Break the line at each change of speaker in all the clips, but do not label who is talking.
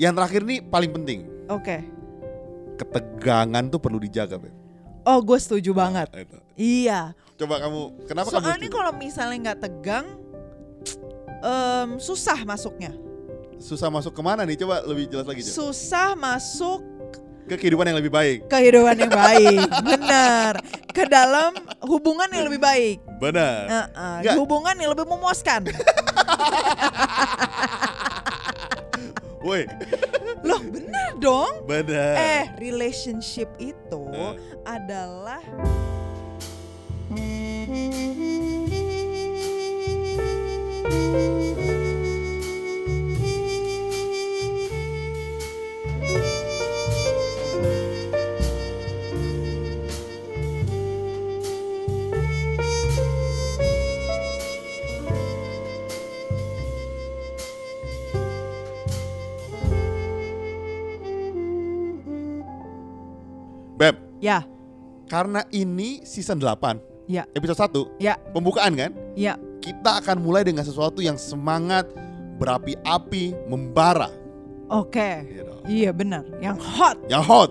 Yang terakhir nih paling penting,
Oke.
ketegangan tuh perlu dijaga, Beb.
Oh, gue setuju banget.
Nah, itu.
Iya.
Coba kamu, kenapa kamu?
Soalnya
setuju?
kalau misalnya nggak tegang, em, susah masuknya.
Susah masuk kemana nih? Coba lebih jelas lagi, Jo.
Susah masuk
Ke kehidupan yang lebih baik.
kehidupan yang baik, benar. Ke dalam hubungan yang lebih baik,
Benar.
Heeh,
Nggak.
hubungan yang lebih memuaskan.
Woi,
Loh, benar dong.
benar.
Eh, relationship itu
Eh.
adalah
Beb,
ya,
karena ini season 8,
ya,
episode 1,
ya,
pembukaan kan?
ya.
Kita akan mulai dengan sesuatu yang semangat, berapi-api, membara.
Oke.
You know.
Iya, benar. Yang hot.
Yang hot.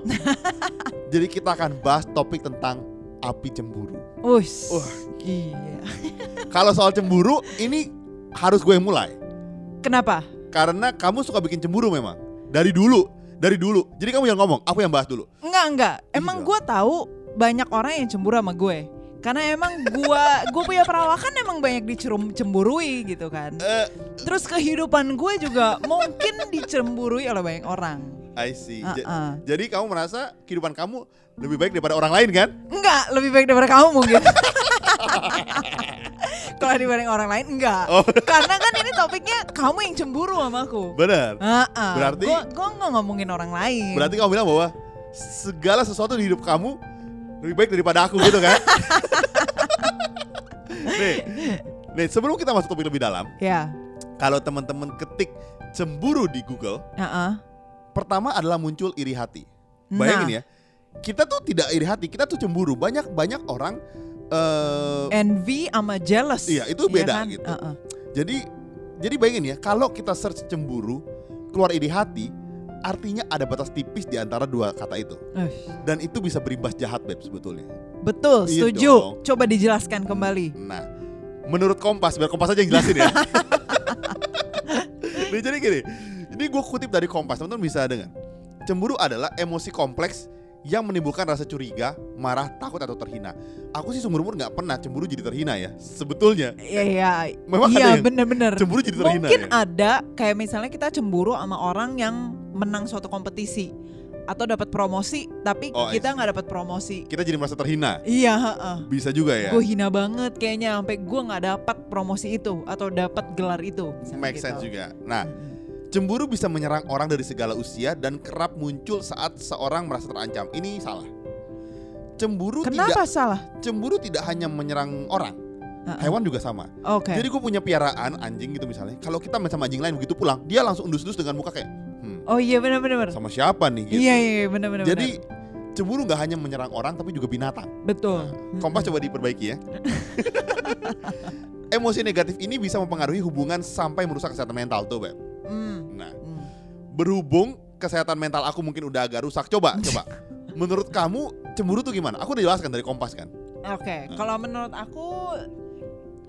Jadi kita akan bahas topik tentang api cemburu.
Ush.
Wah.
Iya.
Kalau soal cemburu, ini harus gue yang mulai.
Kenapa?
Karena kamu suka bikin cemburu memang. Dari dulu, dari dulu. Jadi kamu yang ngomong, aku yang bahas dulu.
Enggak, enggak. Emang
Iya.
gue tahu banyak orang yang cemburu sama gue. Karena emang gua gue punya perawakan emang banyak dicerum cemburui gitu kan.
Eh,
Terus kehidupan gue juga mungkin dicemburui oleh banyak orang.
I see. Ja-
Heeh.
Jadi kamu merasa kehidupan kamu lebih baik daripada orang lain kan?
Enggak, lebih baik daripada kamu mungkin. Kalau dibanding orang lain enggak.
Oh.
Karena kan ini topiknya kamu yang cemburu sama aku.
Benar.
Heeh.
Berarti-
gua gua nggak ngomongin orang lain.
Berarti kamu bilang bahwa segala sesuatu di hidup kamu lebih baik daripada aku gitu kan? nih, nih sebelum kita masuk topik lebih dalam,
ya,
kalau teman-teman ketik cemburu di Google,
heeh.
pertama adalah muncul iri hati.
Nah,
Bayangin ya, kita tuh tidak iri hati, kita tuh cemburu. Banyak banyak orang eh
Envy sama jealous.
Iya, itu
Iya
beda
kan?
gitu.
Heeh.
Jadi jadi bayangin ya, kalau kita search cemburu, keluar iri hati, artinya ada batas tipis di antara dua kata itu.
Eh,
Dan itu bisa berimbas jahat, Beb, sebetulnya.
Betul,
Iya
setuju.
dong.
Coba dijelaskan kembali.
Nah, menurut Kompas, biar Kompas aja yang jelasin ya. Nih, jadi gini, ini gue kutip dari Kompas, teman-teman bisa dengar. Cemburu adalah emosi kompleks yang menimbulkan rasa curiga, marah, takut atau terhina. Aku sih seumur umur nggak pernah cemburu jadi terhina ya, sebetulnya.
Iya, iya.
Memang ada
Iya,
yang
bener-bener.
Cemburu jadi terhina.
Mungkin
ya?
ada kayak misalnya kita cemburu sama orang yang menang suatu kompetisi atau dapat promosi tapi
Oh, I
kita
see.
nggak dapat promosi.
Kita jadi merasa terhina.
Iya, heeh.
Bisa juga ya.
Gue hina banget kayaknya sampai gue nggak dapat promosi itu atau dapat gelar itu. misalnya
Make
gitu.
sense juga. Nah, Cemburu bisa menyerang orang dari segala usia dan kerap muncul saat seorang merasa terancam. Ini salah. Cemburu tidak
Kenapa salah?
cemburu tidak hanya menyerang orang.
Heeh.
Hewan juga sama.
Oke.
Jadi gue punya piaraan anjing gitu misalnya. Kalau kita main sama anjing lain begitu pulang, dia langsung undus-undus dengan muka kayak, "Hmm,
Oh iya benar-benar.
sama siapa nih?" gitu.
Iya iya benar-benar.
Jadi cemburu nggak hanya menyerang orang tapi juga binatang.
betul.
Kompas coba diperbaiki ya. Emosi negatif ini bisa mempengaruhi hubungan sampai merusak kesehatan mental tuh, Beb.
Hmm,
Nah,
hmm.
berhubung kesehatan mental aku mungkin udah agak rusak. Coba, coba. Menurut kamu cemburu tuh gimana? Aku udah jelaskan dari Kompas kan.
Oke, kalau menurut aku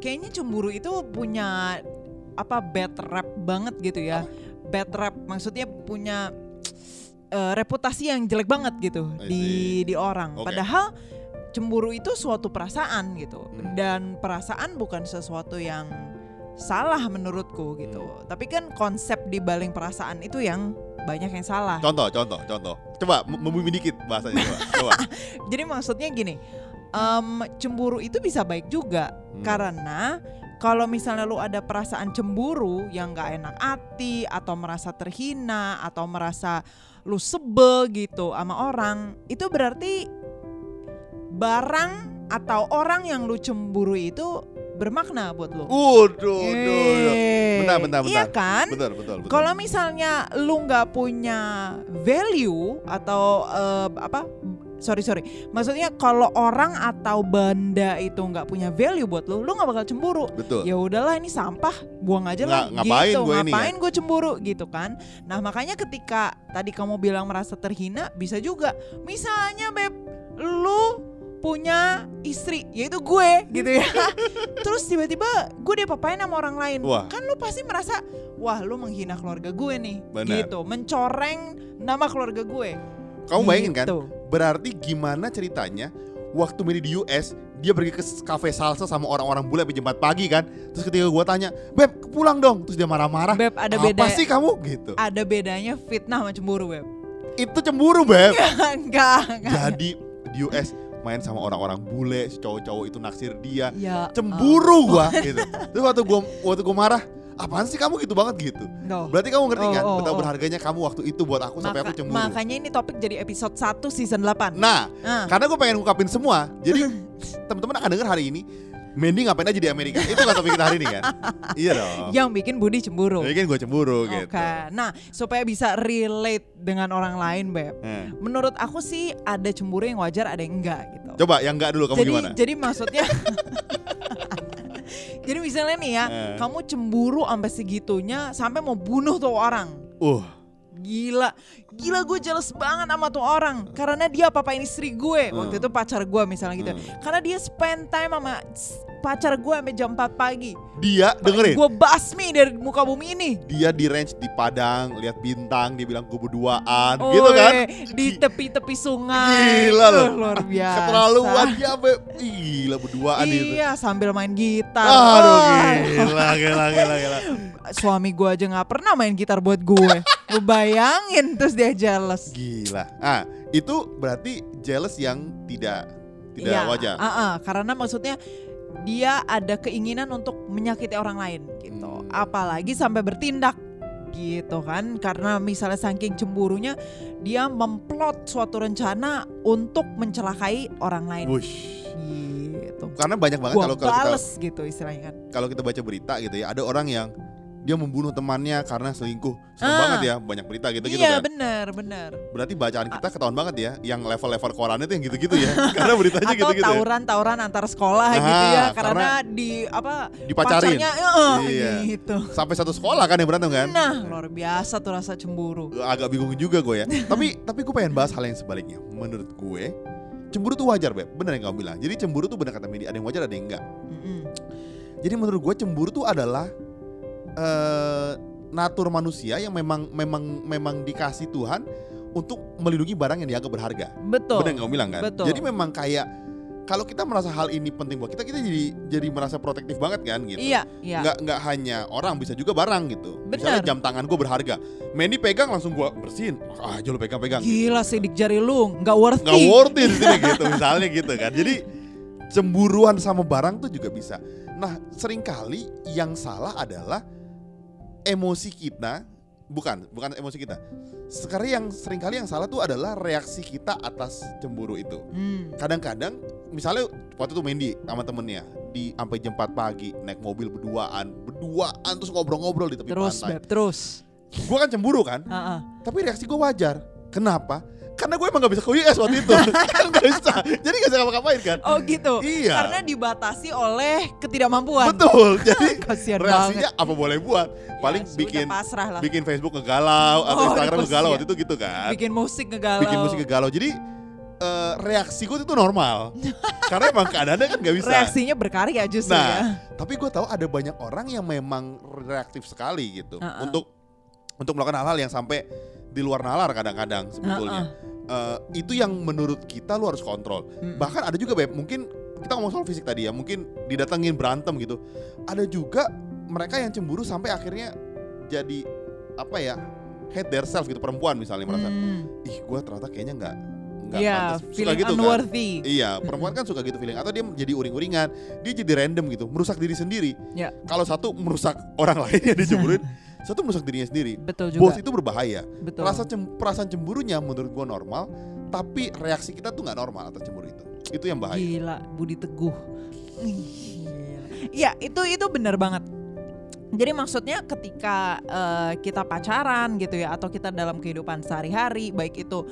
kayaknya cemburu itu punya apa bad rap banget gitu ya. Bad rap maksudnya punya eh, reputasi yang jelek banget gitu
I
di di orang.
Oke.
Padahal cemburu itu suatu perasaan gitu.
Hmm.
Dan perasaan bukan sesuatu yang salah menurutku gitu.
Hmm.
Tapi kan konsep di balik perasaan itu yang banyak yang salah.
Contoh, contoh, contoh. Coba mem- membumi dikit bahasanya coba.
Ah,
coba.
Jadi maksudnya gini, em, cemburu itu bisa baik juga
Hmm.
karena kalau misalnya lu ada perasaan cemburu yang gak enak hati atau merasa terhina atau merasa lu sebel gitu sama orang, itu berarti barang atau orang yang lu cemburu itu bermakna buat lu.
Waduh, aduh, aduh.
Yeay.
Bentar, bentar,
Iya
bentar.
kan?
Betul, betul, betul.
Eh, Kalau misalnya lu nggak punya value atau eh, apa sorry sorry maksudnya kalau orang atau benda itu nggak punya value buat lu lu nggak bakal cemburu
betul
ya udahlah ini sampah buang aja lah
Nggak- ngapain
gitu
gua ini ya?
ngapain gue cemburu gitu kan nah makanya ketika tadi kamu bilang merasa terhina bisa juga misalnya beb lu punya istri yaitu gue gitu ya terus tiba-tiba gue diapapain sama orang lain
Wah.
kan lu pasti merasa wah lu menghina keluarga gue nih
Benar.
gitu mencoreng nama keluarga gue
kamu bayangin kan
Gitu.
berarti gimana ceritanya waktu Mary di US dia pergi ke cafe salsa sama orang-orang bule sampai jam 4 pagi kan terus ketika gua tanya beb pulang dong terus dia marah-marah
beb ada
apa
beda
sih kamu gitu
ada bedanya fitnah sama cemburu beb
itu cemburu beb
enggak enggak
jadi di US main sama orang-orang bule si cowok-cowok itu naksir dia
ya
cemburu gua gitu terus waktu gua waktu gua marah apaan sih kamu gitu banget gitu
ampun. No.
berarti kamu ngerti
Oh,
kan
oh,
betapa
oh.
berharganya kamu waktu itu buat aku sampai aku
Maka-
cemburu
Makanya ini topik jadi episode 1 season 8.
nah
Nah,
Karena gue pengen ngungkapin semua. Jadi teman-teman akan denger hari ini Mandy ngapain aja di Amerika. Itu kan topik kita hari ini kan. iya dong.
yang bikin Budi cemburu.
Mungkin gue cemburu
Ya Oke.
Iya, gitu.
Nah, supaya bisa relate dengan orang lain, Beb.
Eh,
Menurut aku sih ada cemburu yang wajar, ada yang enggak gitu.
Coba yang enggak dulu kamu
jadi
gimana?
jadi maksudnya Jadi misalnya nih ya,
Eh.
kamu cemburu sampai segitunya sampai mau bunuh tuh orang.
Uh,
Gila, gila gue jealous banget sama tuh orang Karena dia papain istri gue
Hmm.
Waktu itu pacar gue misalnya gitu
Hmm.
Karena dia spend time sama s- pacar gue sampai jam 4 pagi
dia dengerin.
Gue basmi dari muka bumi ini
Dia di range di Padang, lihat bintang, dia bilang gue berduaan,
Oh,
gitu kan?
eh, Di tepi-tepi sungai
Gila
Duh,
loh.
Luar biasa
Keterlaluan dia, Beb. Ih, Gila berduaan itu.
Ya, Iya Oh. sambil main gitar
Aduh, gitu.
Wah,
gila, gila, gila, gila.
Suami gue aja gak pernah main gitar buat gue Lu bayangin terus dia jealous
Gila. Ah, itu berarti jealous yang tidak tidak
Iya,
wajar.
ah-ah, karena maksudnya dia ada keinginan untuk menyakiti orang lain
Hmm.
gitu. Apalagi sampai bertindak gitu kan karena misalnya saking cemburunya dia memplot suatu rencana untuk mencelakai orang lain
Wush.
gitu.
Karena banyak banget
Gua
kalau kalau kita-
bales gitu istilahnya kan.
kalau kita baca berita gitu ya ada orang yang dia membunuh temannya karena selingkuh serem
Ah.
banget ya banyak berita gitu gitu
iya
kan
benar benar.
berarti bacaan kita ketahuan banget ya yang level-level korannya tuh yang gitu-gitu ya karena beritanya
Atau
gitu-gitu ya.
tawuran-tawuran antar sekolah gitu
Ah,
ya
karena
karena di apa
dipacarin
pacarnya eh,
Iya.
gitu.
sampai satu sekolah kan yang berantem kan
Nah, luar biasa tuh rasa cemburu.
agak bingung juga gue ya tapi tapi gue pengen bahas hal yang sebaliknya menurut gue cemburu tuh wajar beb bener yang kamu bilang jadi cemburu tuh bener kata Medi ada yang wajar ada yang enggak
Mm-mm.
jadi menurut gue cemburu tuh adalah eh natur manusia yang memang memang memang dikasih Tuhan untuk melindungi barang yang dianggap berharga
Betul.
Bener yang kamu bilang kan?
Betul.
Jadi memang kayak kalau kita merasa hal ini penting buat kita, kita jadi jadi merasa protektif banget kan gitu.
Iya, iya.
Nggak nggak hanya orang bisa juga barang gitu. Misalnya
Bener.
jam tangan gue berharga, Mandy pegang langsung gue bersihin. Ah, aja lu pegang-pegang.
Gila sidik jari lu, nggak worth
Nggak
it.
worth it sih gitu misalnya gitu kan. Jadi cemburuan sama barang tuh juga bisa. Nah seringkali yang salah adalah emosi kita bukan bukan emosi kita. Sekarang yang seringkali yang salah tuh adalah reaksi kita atas cemburu itu
Hmm.
kadang-kadang misalnya waktu itu Mendy sama temennya di sampai jam 4 pagi naik mobil berduaan berduaan terus ngobrol-ngobrol di tepi
Terus,
pantai
Beb, terus.
gue kan cemburu kan
Ah, ah.
tapi reaksi gue wajar kenapa karena gue emang gak bisa ke US waktu itu kan gak bisa jadi gak bisa ngapa-ngapain kan
Oh gitu.
Iya.
Karena dibatasi oleh ketidakmampuan.
betul jadi
Kasihan banget.
reaksinya apa boleh buat paling
Ya, sudah,
bikin
pasrah lah.
bikin Facebook ngegalau atau
Oh,
Instagram
repost,
ngegalau
iya.
waktu itu gitu kan
Bikin musik ngegalau.
bikin musik ngegalau jadi eh, reaksi gue itu normal karena emang keadaannya kan gak bisa
Reaksinya berkarya justru
Nah,
ya.
tapi gue tahu ada banyak orang yang memang reaktif sekali gitu
Heeh.
untuk untuk melakukan hal-hal yang sampai di luar nalar kadang-kadang sebetulnya Eh, itu yang menurut kita lu harus kontrol
Mm-mm.
bahkan ada juga beb mungkin kita ngomong soal fisik tadi ya mungkin didatengin berantem gitu ada juga mereka yang cemburu sampai akhirnya jadi apa ya hate themselves gitu perempuan misalnya merasa
Hmm.
ih gue ternyata kayaknya nggak nggak
Iya,
pantas." Suka
feeling
gitu kan
unworthy.
Iya, perempuan kan suka gitu feeling atau dia jadi uring-uringan, dia jadi random gitu, merusak diri sendiri.
Ya.
Kalau satu merusak orang lain yang dicemburuin, satu merusak dirinya sendiri.
Betul
Bos
juga.
itu berbahaya.
Betul.
Rasa cem- perasaan cemburunya menurut gua normal, tapi reaksi kita tuh nggak normal atas cemburu itu. Itu yang bahaya.
Gila, Budi Teguh. Gila. Iya, itu itu benar banget. Jadi maksudnya ketika eh, kita pacaran gitu ya atau kita dalam kehidupan sehari-hari baik itu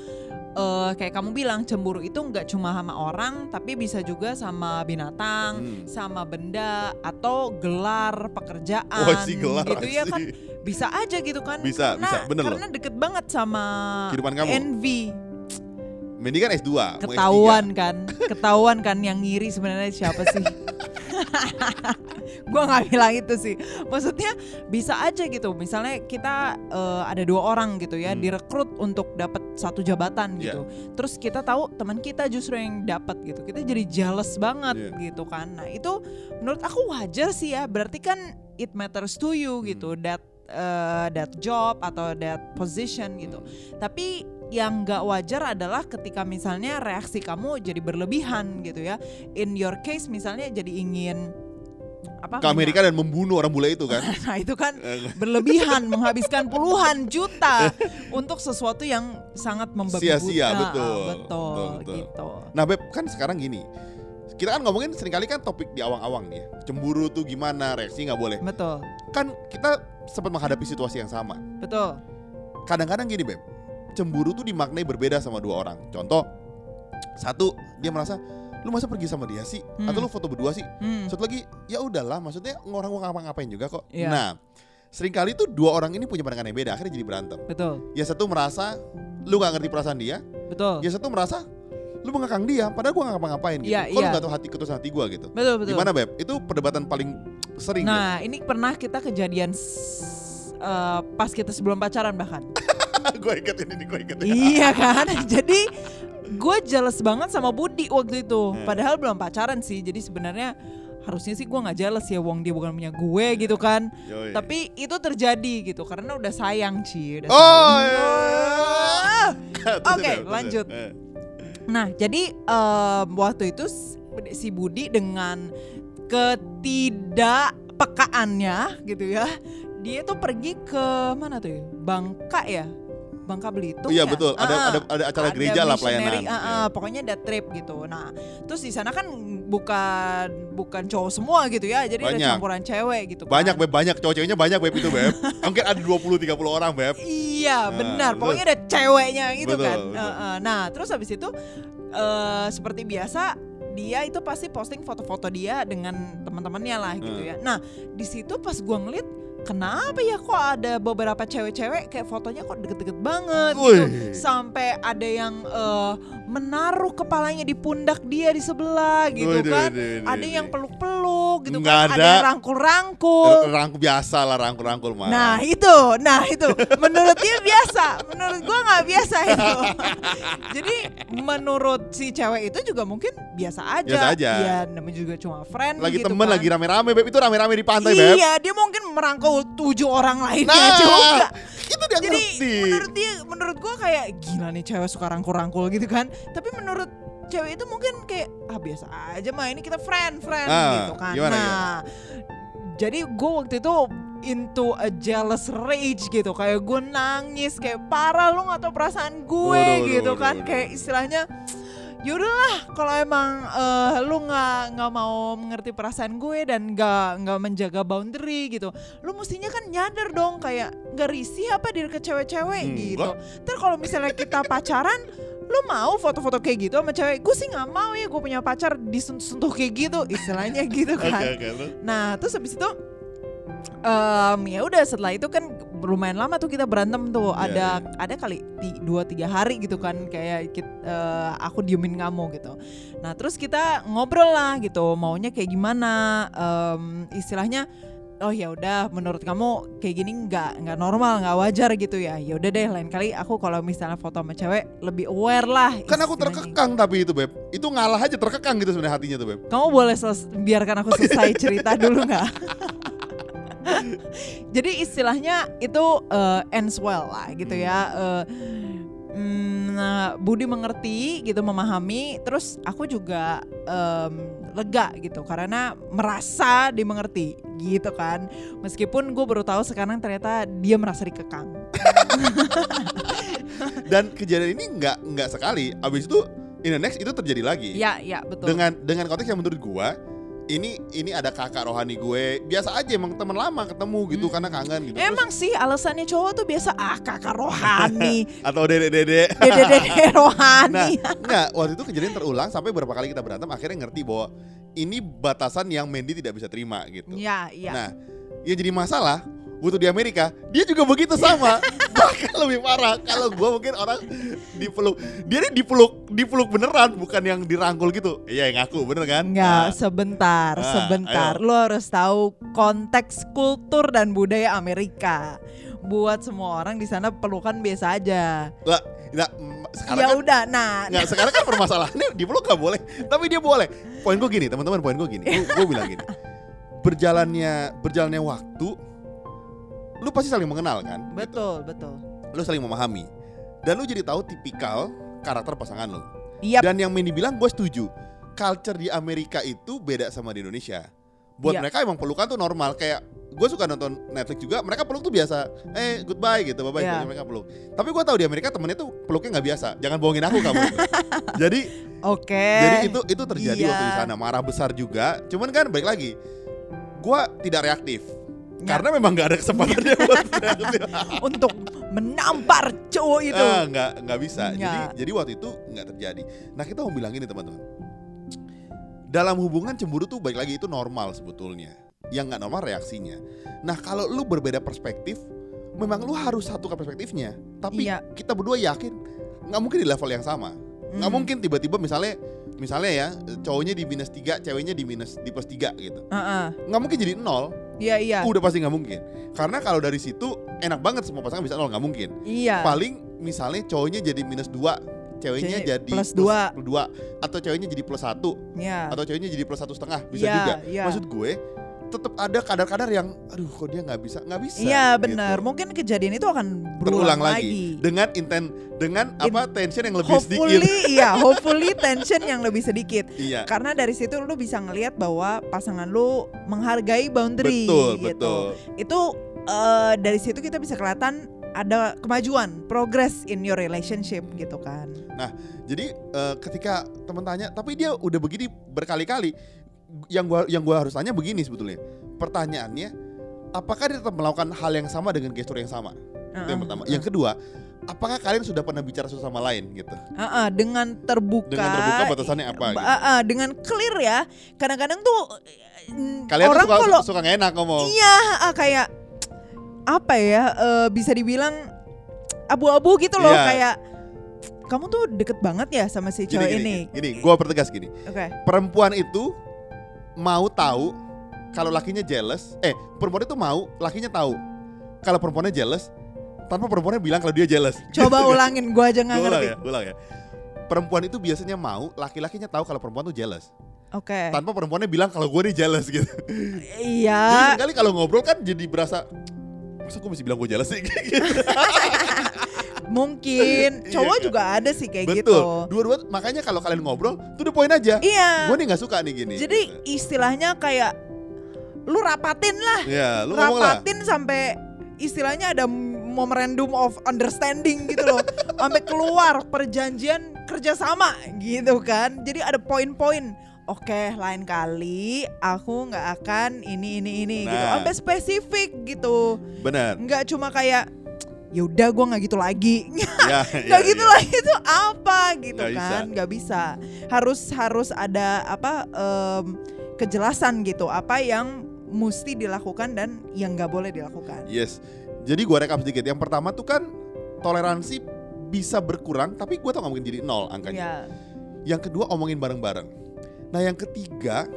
eh, kayak kamu bilang cemburu itu nggak cuma sama orang tapi bisa juga sama binatang,
Hmm.
sama benda atau gelar pekerjaan
Wah, Oh, si gelar
gitu ya
asli.
kan bisa aja gitu kan
Bisa,
karena,
bisa, bener
karena deket banget sama
Kehidupan kamu.
envy
Mendy kan S2, mau S3.
ketahuan
iya.
kan ketahuan kan yang ngiri sebenarnya siapa sih gua nggak bilang itu sih maksudnya bisa aja gitu misalnya kita eh, ada dua orang gitu ya
Hmm.
direkrut untuk dapat satu jabatan
Iya.
gitu terus kita tahu teman kita justru yang dapat gitu kita jadi jealous banget
Iya.
gitu kan nah itu menurut aku wajar sih ya berarti kan it matters to you
Hmm.
gitu that eh, that job atau that position gitu
Hmm.
tapi yang nggak wajar adalah ketika misalnya reaksi kamu jadi berlebihan gitu ya. In your case misalnya jadi ingin apa?
Ke Amerika
Iya.
dan membunuh orang bule itu kan.
Nah itu kan
Eh,
berlebihan menghabiskan puluhan juta untuk sesuatu yang sangat membabi
Sia-sia,
buta. Ah,
betul.
betul,
Betul, betul.
gitu.
nah Beb, kan sekarang gini. Kita kan ngomongin seringkali kan topik di awang-awang nih ya. Cemburu tuh gimana, reaksi nggak boleh.
Betul.
Kan kita sempat menghadapi situasi yang sama.
Betul.
Kadang-kadang gini Beb, cemburu tuh dimaknai berbeda sama dua orang. Contoh, satu dia merasa lu masa pergi sama dia sih
Hmm.
atau lu foto berdua sih
Hmm.
Satu lagi, ya udahlah, maksudnya orang mau ngapa-ngapain juga kok.
Iya.
Nah, seringkali tuh dua orang ini punya pandangan yang beda, akhirnya jadi berantem.
Betul.
Ya satu merasa lu gak ngerti perasaan dia,
Betul.
ya satu merasa lu mengekang dia, padahal gua gak ngapa-ngapain gitu.
Iya,
Kok lu
iya.
gak tahu hati ketus hati gua gitu.
Betul, betul.
Gimana beb? Itu perdebatan paling sering. ya?
Nah, ini pernah kita kejadian s- eh, pas kita sebelum pacaran bahkan.
gua inget ini, nih, gua inget.
Iya kan? Jadi gue jealous banget sama Budi waktu itu.
Hmm.
Padahal belum pacaran sih. Jadi sebenarnya harusnya sih gue nggak jealous ya, Wong dia bukan punya gue gitu kan.
Yoi.
Tapi itu terjadi gitu karena udah sayang Ci. Udah
Oh.
sayang.
iya, iya,
Ah.
iya. Terus
Oke,
ya, terus ya.
lanjut.
Eh,
Nah, jadi em, waktu itu s- si Budi dengan ketidakpekaannya gitu ya, dia tuh pergi ke mana tuh? ya? Bangka ya? Bangka Belitung.
Iya
ya?
betul, ada
Ah,
ada ada acara
ada
gereja lah pelayanan.
missionary,
Iya.
ah, ah, pokoknya ada trip gitu. Nah, terus di sana kan bukan bukan cowok semua gitu ya. Jadi
Banyak.
ada campuran cewek gitu. kan.
Iya. Banyak beb, banyak cowok-cowoknya banyak beb itu beb. Mungkin ada 20 30 orang beb.
Iya
Nah,
benar,
betul.
pokoknya ada ceweknya gitu
Betul,
kan.
betul.
Eh, eh, Nah terus habis itu eh seperti biasa dia itu pasti posting foto-foto dia dengan teman-temannya lah gitu
Hmm.
ya. Nah di situ pas gua ngeliat kenapa ya kok ada beberapa cewek-cewek kayak fotonya kok deket-deket banget gitu.
Wih.
Sampai ada yang eh, menaruh kepalanya di pundak dia di sebelah gitu
Waduh,
kan.
waduh, waduh,
Ada yang
waduh.
peluk-peluk gitu
Nggak
kan. Ada
ada.
yang rangkul-rangkul.
R- rangkul biasa lah rangkul-rangkul mah.
Nah itu, nah itu. Menurut dia biasa, menurut gua nggak biasa itu. Jadi menurut si cewek itu juga mungkin biasa aja.
Biasa aja.
Iya, namanya juga cuma friend.
lagi
gitu
temen
kan.
lagi rame-rame beb itu rame-rame di pantai beb.
Iya, dia mungkin merangkul tujuh orang lainnya
Nah,
juga.
itu dia
Jadi
ngerti.
menurut dia, menurut gua kayak gila nih cewek suka rangkul-rangkul gitu kan. Tapi menurut cewek itu mungkin kayak ah biasa aja mah ini kita friend friend
Ah,
gitu kan.
gimana,
nah, jadi gue waktu itu into a jealous rage gitu kayak gue nangis kayak parah lu gak tau perasaan gue
Waduh, waduh,
gitu
waduh,
kan
waduh.
kayak istilahnya yaudahlah kalau emang eh, lu nggak nggak mau mengerti perasaan gue dan nggak nggak menjaga boundary gitu lu mestinya kan nyadar dong kayak nggak risih apa diri ke cewek-cewek gitu ntar kalau misalnya kita pacaran lu mau foto-foto kayak gitu sama cewek gue sih nggak mau ya gue punya pacar disentuh kayak gitu istilahnya gitu
Oke
kan
oke terus.
Nah, terus habis itu em ya udah setelah itu kan lumayan lama tuh kita berantem tuh.
Iya,
ada
iya.
ada kali ti- dua tiga hari gitu kan kayak kit- eh, aku diemin kamu gitu. Nah, terus kita ngobrol lah gitu. Maunya kayak gimana? em, istilahnya Oh ya udah, menurut kamu kayak gini nggak nggak normal, nggak wajar gitu ya? Ya udah deh, lain kali aku kalau misalnya foto sama cewek lebih aware lah.
Kan aku
istilahnya.
terkekang tapi itu beb. Itu ngalah aja terkekang gitu sebenarnya hatinya tuh beb.
Kamu boleh seles- biarkan aku selesai cerita dulu nggak? Jadi istilahnya itu eh, ends well lah gitu ya.
Hmm.
Eh, mm, nah, Budi mengerti gitu memahami. Terus aku juga em, lega gitu karena merasa dimengerti gitu kan. Meskipun gue baru tahu sekarang ternyata dia merasa dikekang.
Dan kejadian ini nggak nggak sekali. Abis itu in the next itu terjadi lagi.
Ya ya betul.
Dengan dengan konteks yang menurut gua ini ini ada kakak rohani gue biasa aja emang teman lama ketemu gitu
Hmm.
karena kangen gitu Terus-
Emang sih alasannya cowok tuh biasa ah kakak rohani,
atau dedek dedek
dede-dede
nah
rohani.
nggak waktu itu kejadian terulang sampai berapa kali kita berantem akhirnya ngerti bahwa ini batasan yang Mandy tidak bisa terima gitu
Ya, ya.
Nah, yang jadi masalah butuh di Amerika, dia juga begitu sama. Bahkan lebih parah. Kalau gua mungkin orang dipeluk. Dia ini dipeluk, dipeluk beneran, bukan yang dirangkul gitu. Iya, yang ngaku bener kan? Nah,
Enggak, sebentar,
Ah,
sebentar. Lo harus tahu konteks kultur dan budaya Amerika. Buat semua orang di sana pelukan biasa aja.
lah, nah, mm, sekarang
Ya
kan
udah, nah,
Nggak, sekarang kan permasalahannya dipeluk gak boleh, tapi dia boleh. Poin gue gini, teman-teman, poin gue gini. Gue bilang gini. Berjalannya berjalannya waktu lu pasti saling mengenal kan? Gitu.
betul, betul.
Lu saling memahami. Dan lu jadi tahu tipikal karakter pasangan lu.
Iya,
Dan yang Mandy bilang gue setuju. Culture di Amerika itu beda sama di Indonesia. Buat
Iya.
mereka emang pelukan tuh normal. Kayak gue suka nonton Netflix juga. Mereka peluk tuh biasa. Eh goodbye gitu, bye bye.
Iya.
Mereka peluk. Tapi gue tahu di Amerika temennya tuh peluknya nggak biasa. Jangan bohongin aku kamu. jadi
oke.
jadi itu itu terjadi waktu di
iya.
sana. Marah besar juga. Cuman kan balik lagi. Gue tidak reaktif.
Ya.
Karena memang nggak ada kesempatan dia buat reaktif.
untuk menampar cowok itu.
Ah, nggak nggak bisa. Jadi
Gitu. Nggak.
jadi waktu itu nggak terjadi. Nah kita mau bilang ini teman-teman. Dalam hubungan cemburu tuh balik lagi itu normal sebetulnya. Yang nggak normal reaksinya. Nah kalau lu berbeda perspektif, memang lu harus satukan perspektifnya. Tapi
Iya.
kita berdua yakin nggak mungkin di level yang sama. Nggak
Hmm.
mungkin tiba-tiba misalnya misalnya ya cowoknya di minus 3, ceweknya di minus di plus 3 gitu.
Heeh.
Nggak mungkin jadi nol.
Iya, iya.
Udah pasti nggak mungkin. Karena kalau dari situ enak banget semua pasangan bisa nol nggak mungkin
Iya.
paling misalnya cowoknya jadi minus 2 ceweknya
Cewek
jadi
plus dua.
dua, atau ceweknya jadi plus satu
Iya.
atau ceweknya jadi plus satu setengah bisa
Iya,
juga
iya.
maksud gue tetap ada kadar-kadar yang aduh kok dia nggak bisa nggak bisa
Iya,
gitu.
benar. Mungkin kejadian itu akan
terulang
berulang
lagi. dengan inten dengan apa tension yang lebih
hopefully
sedikit
iya, hopefully tension yang lebih sedikit.
iya
Karena dari situ lu bisa ngelihat bahwa pasangan lu menghargai boundary
betul
gitu.
betul
Itu eh, dari situ kita bisa kelihatan ada kemajuan, progress in your relationship gitu kan.
Jadi eh, ketika teman tanya, tapi dia udah begini berkali-kali. Yang gua yang gua harus tanya begini sebetulnya. Pertanyaannya, apakah dia tetap melakukan hal yang sama dengan gestur yang sama? Itu yang
Heeh.
pertama. Yang kedua, apakah kalian sudah pernah bicara satu sama lain gitu?
Heeh, dengan terbuka.
Dengan terbuka batasannya apa,
Ba-
gitu.
heeh, dengan clear ya. Kadang-kadang tuh eh,
Kalian tuh
orang
suka
kalau
suka nggak enak ngomong.
Iya, ah, kayak apa ya? eh, bisa dibilang abu-abu gitu loh,
Iya.
kayak kamu tuh deket banget ya sama si
Gini,
cowok
gini,
ini.
gini, gua pertegas gini.
Oke.
Perempuan itu mau tahu kalau lakinya jealous, eh perempuan itu mau lakinya tahu kalau perempuannya jealous tanpa perempuannya bilang kalau dia jealous. gitu.
Coba ulangin, gua aja nggak
Gue ulang
ngerti.
ya, gue ulang ya. Perempuan itu biasanya mau laki-lakinya tahu kalau perempuan tuh jealous.
Oke.
Tanpa perempuannya bilang kalau gue nih jealous gitu. Jadi
Iya.
seringkali kalau ngobrol kan jadi berasa masa gue mesti bilang gue jealous sih gitu.
Mungkin
Iya,
cowok
kan?
juga ada sih kayak gitu.
Betul. Dua-dua makanya kalau kalian ngobrol tuh the point aja.
Iya.
Gue nih nggak suka nih gini. gitu.
Jadi istilahnya kayak lu rapatin lah,
gitu. ya lu ngomong lah.
rapatin sampai istilahnya ada memorandum of understanding gitu loh, sampai keluar perjanjian kerjasama gitu kan. Jadi ada poin-poin. Oke, lain kali aku nggak akan ini ini ini gitu,
Nah.
sampai spesifik gitu.
Benar.
Nggak cuma kayak ya udah gua nggak gitu lagi
ya,
Gak gitu lah itu apa gitu
Nggak bisa.
kan nggak bisa harus harus ada apa em, kejelasan gitu apa yang mesti dilakukan dan yang nggak boleh dilakukan
Yes. Jadi gue rekap sedikit. Yang pertama tuh kan toleransi bisa berkurang tapi gue tau gak mungkin jadi nol angkanya.
ya
Yang kedua omongin bareng-bareng. Nah yang ketiga,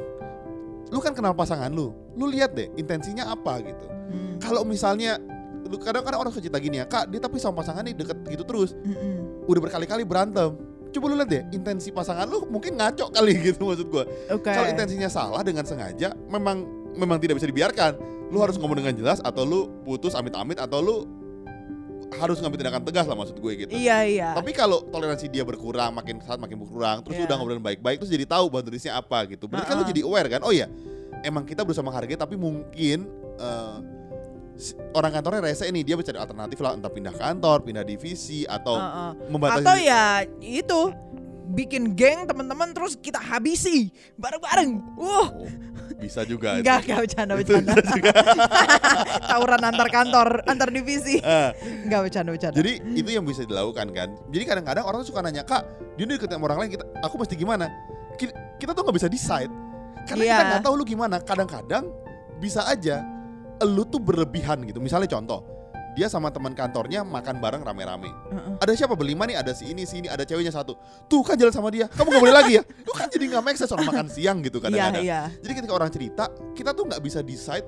lu kan kenal pasangan lu, lu lihat deh intensinya apa gitu.
Mm,
Kalau misalnya lu kadang-kadang orang suka cerita gini ya, kak dia tapi sama pasangan nih deket gitu terus,
mm-mm.
udah berkali-kali berantem. Coba lu lihat deh intensi pasangan lu mungkin ngaco kali gitu maksud gua.
oke
Kalau intensinya salah dengan sengaja, memang memang tidak bisa dibiarkan. Lu harus ngomong dengan jelas atau lu putus amit-amit atau lu harus ngambil tindakan tegas lah maksud gue gitu.
iya iya
Tapi kalau toleransi dia berkurang, makin saat makin berkurang, terus lu
Iya.
udah ngobrolin baik-baik, terus jadi tahu boundariesnya apa gitu. Berarti kan lu
Ha-ha.
jadi aware kan? Oh iya, emang kita berusaha menghargai, tapi mungkin eh, si- orang kantornya rese nih dia bisa ada alternatif lah, entah pindah kantor, pindah divisi, atau
Heeh.
membatasi.
atau ya itu bikin geng teman-teman terus kita habisi bareng-bareng uh
Oh. Bisa juga. itu.
Enggak, enggak bercanda-bercanda. Tawuran antar kantor, antar divisi.
Ah,
Enggak bercanda-bercanda.
jadi itu yang bisa dilakukan kan. Jadi kadang-kadang orang tuh suka nanya kak, dia udah ketemu orang lain, kita, aku mesti gimana? Ki- Kita, tuh nggak bisa decide karena kita
Iya.
nggak tahu lu gimana. Kadang-kadang bisa aja lu tuh berlebihan gitu. Misalnya contoh, dia sama teman kantornya makan bareng rame-rame.
Heeh.
Ada siapa berlima nih? Ada si ini, si ini, ada ceweknya satu. Tuh kan jalan sama dia. Kamu nggak boleh lagi ya? Lu kan jadi nggak make sense orang makan siang gitu
Iya,
kadang-kadang.
iya.
Jadi ketika orang cerita, kita tuh nggak bisa decide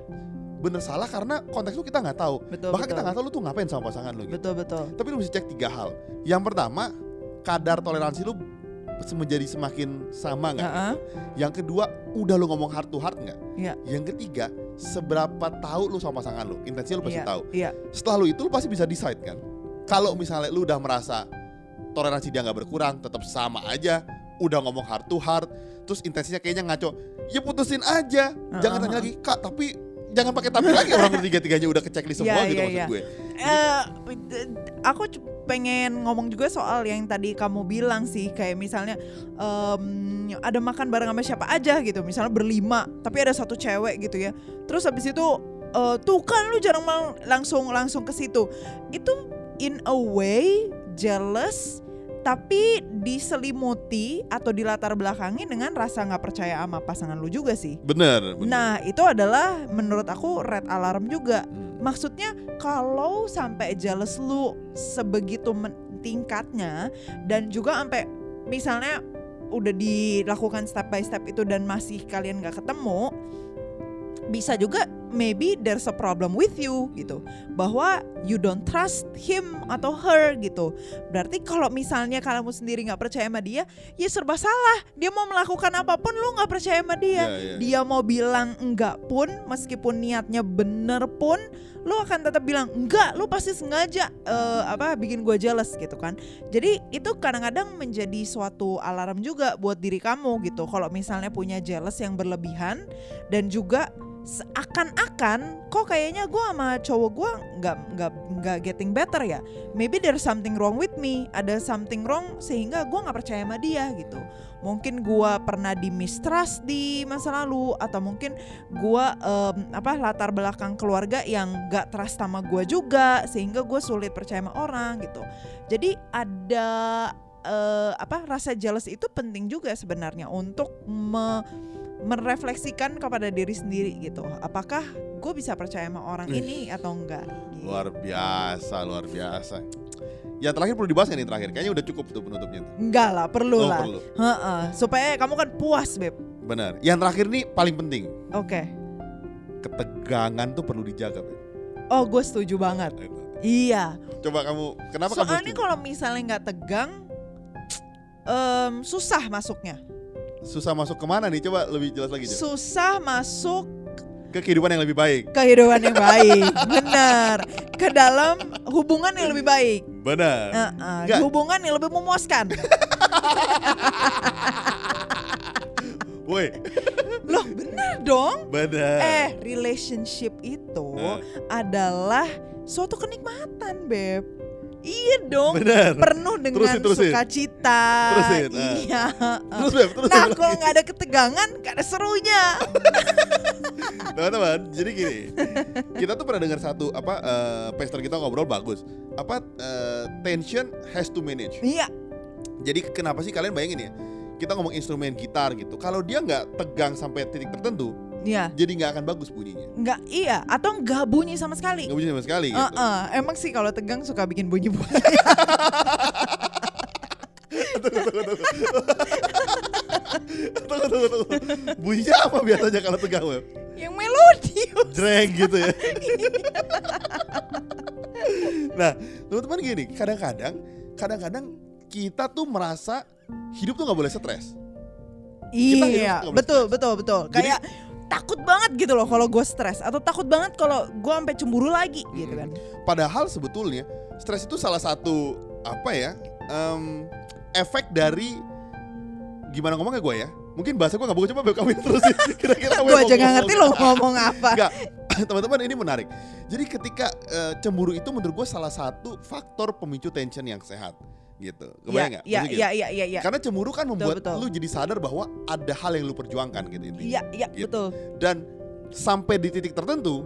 bener salah karena konteks lu kita nggak tahu.
Betul,
Bahkan kita
betul.
nggak tahu lu tuh ngapain sama pasangan lu. Gitu.
Betul, betul.
Tapi lu mesti cek tiga hal. Yang pertama, kadar toleransi lu se- menjadi semakin sama nggak?
Heeh.
Yang kedua, udah lu ngomong heart to heart nggak?
Iya.
Yang ketiga, seberapa tahu lu sama pasangan lu? Intensinya lu pasti
Iya,
tahu.
Iya.
Setelah lu itu lu pasti bisa decide kan. Kalau misalnya lu udah merasa toleransi dia nggak berkurang, tetap sama aja, udah ngomong heart to heart, terus intensinya kayaknya ngaco, ya putusin aja. Jangan tanya
uh-uh.
lagi, "Kak, tapi jangan pakai tapi lagi orang ketiga-tiganya udah kecek di semua
Iya,
gitu
iya,
maksud
iya.
gue."
Eh, d- d- aku cu- pengen ngomong juga soal yang tadi kamu bilang sih kayak misalnya em, ada makan bareng sama siapa aja gitu misalnya berlima tapi ada satu cewek gitu ya terus habis itu eh, tuh kan lu jarang mau langsung langsung ke situ itu in a way jealous tapi diselimuti atau dilatar belakangi dengan rasa nggak percaya sama pasangan lu juga sih
Bener, bener.
nah itu adalah menurut aku red alarm juga
Hmm.
Maksudnya kalau sampai jealous lu sebegitu men- tingkatnya dan juga sampai misalnya udah dilakukan step by step itu dan masih kalian nggak ketemu bisa juga maybe there's a problem with you gitu bahwa you don't trust him atau her gitu berarti kalau misalnya kamu sendiri nggak percaya sama dia ya serba salah dia mau melakukan apapun lu nggak percaya sama dia
Iya, iya.
dia mau bilang enggak pun meskipun niatnya bener pun lu akan tetap bilang enggak lu pasti sengaja eh, apa bikin gue jealous gitu kan jadi itu kadang-kadang menjadi suatu alarm juga buat diri kamu gitu kalau misalnya punya jealous yang berlebihan dan juga seakan-akan kok kayaknya gue sama cowok gue nggak nggak nggak getting better ya maybe there's something wrong with me ada something wrong sehingga gue nggak percaya sama dia gitu mungkin gua pernah di mistrust di masa lalu atau mungkin gua em, apa latar belakang keluarga yang gak trust sama gua juga sehingga gue sulit percaya sama orang gitu jadi ada eh, apa rasa jealous itu penting juga sebenarnya untuk me- merefleksikan kepada diri sendiri gitu apakah gue bisa percaya sama orang
Ih.
ini atau enggak gitu.
Luar biasa, luar biasa. Yang terakhir perlu dibahas nggak nih terakhir? Kayaknya udah cukup tuh penutupnya. tuh.
enggak lah perlu
Oh,
lah
perlu.
Heeh, supaya kamu kan puas beb
Benar. Yang terakhir nih paling penting.
oke
Ketegangan tuh perlu dijaga. Beb. Eh,
oh gue setuju banget iya
Coba kamu, kenapa kamu?
Soalnya
setuju?
kalau misalnya nggak tegang, em, susah masuknya,
susah masuk kemana nih? Coba lebih jelas lagi. Jo.
susah masuk
Ke kehidupan yang lebih baik.
kehidupan yang baik, benar, ke dalam hubungan yang lebih baik,
Benar.
Heeh,
Nggak.
hubungan yang lebih memuaskan.
Woi,
Loh, benar dong.
benar.
Eh, relationship itu
Eh,
adalah suatu kenikmatan, beb. Iya dong,
benar.
penuh dengan
Terusin, terusin.
sukacita.
Terusin, ah.
Iya. heeh.
Terus Beb, terus.
Nah,
Beb.
kalau nggak ada ketegangan, nggak ada serunya.
Teman-teman, jadi gini. Kita tuh pernah dengar satu apa eh pastor kita ngobrol bagus. Apa eh, tension has to manage.
Iya,
Jadi kenapa sih kalian bayangin ya? Kita ngomong instrumen gitar gitu. Kalau dia nggak tegang sampai titik tertentu,
iya.
jadi nggak akan bagus bunyinya.
nggak iya atau nggak bunyi sama sekali.
Nggak bunyi sama sekali. Gitu.
Heeh, emang sih kalau tegang suka bikin bunyi bunyi.
Tunggu, tunggu, tunggu. Bunyinya apa biasanya kalau tegang? Beb?
yang melodius.
Jreng gitu ya. nah, teman-teman gini, kadang-kadang, kadang-kadang kita tuh merasa hidup tuh nggak boleh stres. Kita hidup
Iya,
nggak boleh
betul betul betul.
Jadi-
Kayak takut banget gitu loh kalau gue stres atau takut banget kalau gue sampai cemburu lagi
Hmm.
gitu kan.
Padahal sebetulnya stres itu salah satu apa ya? em, efek dari gimana ngomongnya gue ya? Mungkin bahasa gue nggak bagus coba Beb, kamu yang terusin. Kira-kira apa
Gue
yang mau
aja nggak
ngomong?
ngerti lo ngomong apa.
Nggak. Teman-teman ini menarik. Jadi ketika eh, cemburu itu menurut gue salah satu faktor pemicu tension yang sehat. gitu.
Iya,
Kebayang nggak?
iya,
Maksudnya gitu.
iya, iya, iya, iya.
Karena cemburu kan membuat
betul.
lu jadi sadar bahwa ada hal yang lu perjuangkan gitu intinya.
Iya, iya,
Gitu.
betul.
Dan sampai di titik tertentu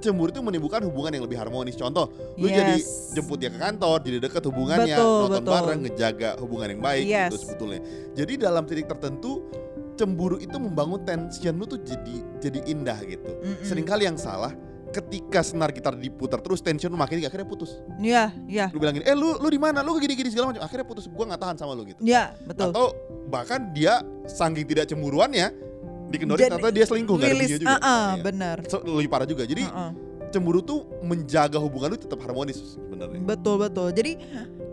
cemburu itu menimbulkan hubungan yang lebih harmonis. Contoh, lu
Yes.
jadi jemput dia ke kantor, jadi dekat hubungannya,
Betul,
nonton
betul.
bareng, ngejaga hubungan yang baik
Yes.
gitu sebetulnya. Jadi dalam titik tertentu cemburu itu membangun tension lu tuh jadi jadi indah gitu.
Mm-mm.
Seringkali yang salah ketika senar gitar diputar terus tension lu makin tinggi, akhirnya putus.
Iya, iya.
Lu bilang gini, "Eh lu lu di mana? Lu gini-gini segala macam." Akhirnya putus. Gua nggak tahan sama lu gitu.
Iya, betul.
Atau bahkan dia saking tidak cemburuannya dikendori
Jadi,
ternyata dia selingkuh nggak ada
Rilis,
bunyinya juga.
ah, ah,
Iya.
benar.
So, lebih parah juga. Jadi
Ah, ah.
cemburu tuh menjaga hubungan lu tetap harmonis sebenarnya.
Betul betul. Jadi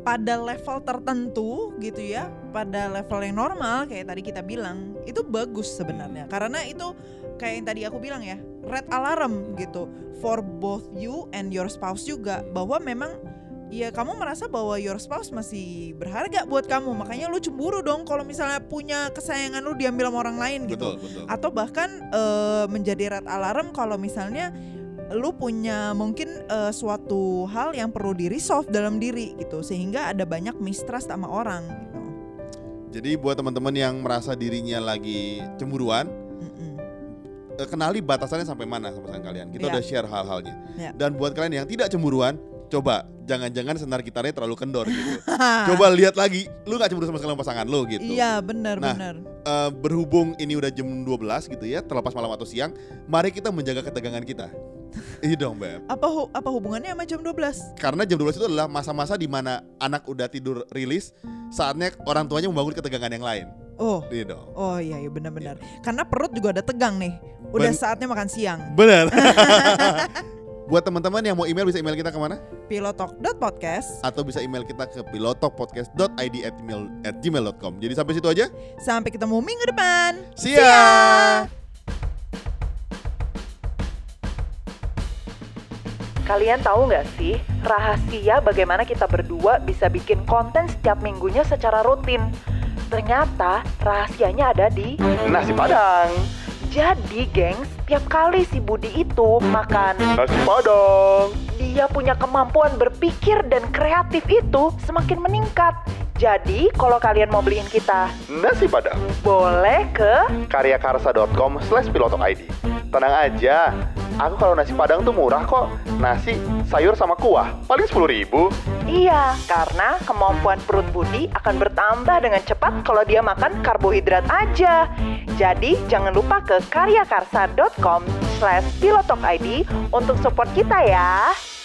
pada level tertentu gitu ya, pada level yang normal kayak tadi kita bilang, itu bagus sebenarnya. Karena itu kayak yang tadi aku bilang ya, red alarm gitu for both you and your spouse juga bahwa memang ya kamu merasa bahwa your spouse masih berharga buat kamu. Makanya lu cemburu dong kalau misalnya punya kesayangan lu diambil sama orang lain gitu
Betul, betul.
atau bahkan eh, menjadi red alarm kalau misalnya lu punya mungkin eh, suatu hal yang perlu di resolve dalam diri gitu sehingga ada banyak mistrust sama orang gitu.
Jadi buat teman-teman yang merasa dirinya lagi cemburuan,
Mm-mm.
eh, kenali batasannya sampai mana sama pasangan kalian. Kita
Iya.
udah share hal-halnya.
Iya.
Dan buat kalian yang tidak cemburuan, coba jangan-jangan senar gitarnya terlalu kendor gitu. coba lihat lagi, lu gak cemburu sama sekali sama pasangan lu gitu.
Iya benar
Nah,
benar.
Eh, berhubung ini udah jam 12 gitu ya, terlepas malam atau siang, mari kita menjaga ketegangan kita. Iya dong, Beb.
Apa hu- apa hubungannya sama jam 12?
karena jam 12 itu adalah masa-masa di mana anak udah tidur rilis, saatnya orang tuanya membangun ketegangan yang lain.
Oh.
Iya dong.
Oh iya iya benar benar. Karena perut juga udah tegang nih. Udah
Ben-
saatnya makan siang.
Benar. Buat teman-teman yang mau email bisa email kita kemana?
Pilotalk.podcast.
Atau bisa email kita ke pilotokpodcast.id@gmail.com. Jadi sampai situ aja.
Sampai ketemu minggu depan.
See ya.
Kalian tahu nggak sih rahasia bagaimana kita berdua bisa bikin konten setiap minggunya secara rutin? Ternyata rahasianya ada di
nasi padang
jadi, gengs. Setiap kali si Budi itu makan,
nasi padang
dia punya kemampuan berpikir dan kreatif itu semakin meningkat. Jadi, kalau kalian mau beliin kita,
nasi padang
boleh ke
karyakarsa.com slash id tenang aja aku kalau nasi padang tuh murah kok nasi sayur sama kuah paling 10.000 ribu
Iya, karena kemampuan perut Budi akan bertambah dengan cepat kalau dia makan karbohidrat aja. Jadi jangan lupa ke karyakarsa.com slash pilotokid untuk support kita ya.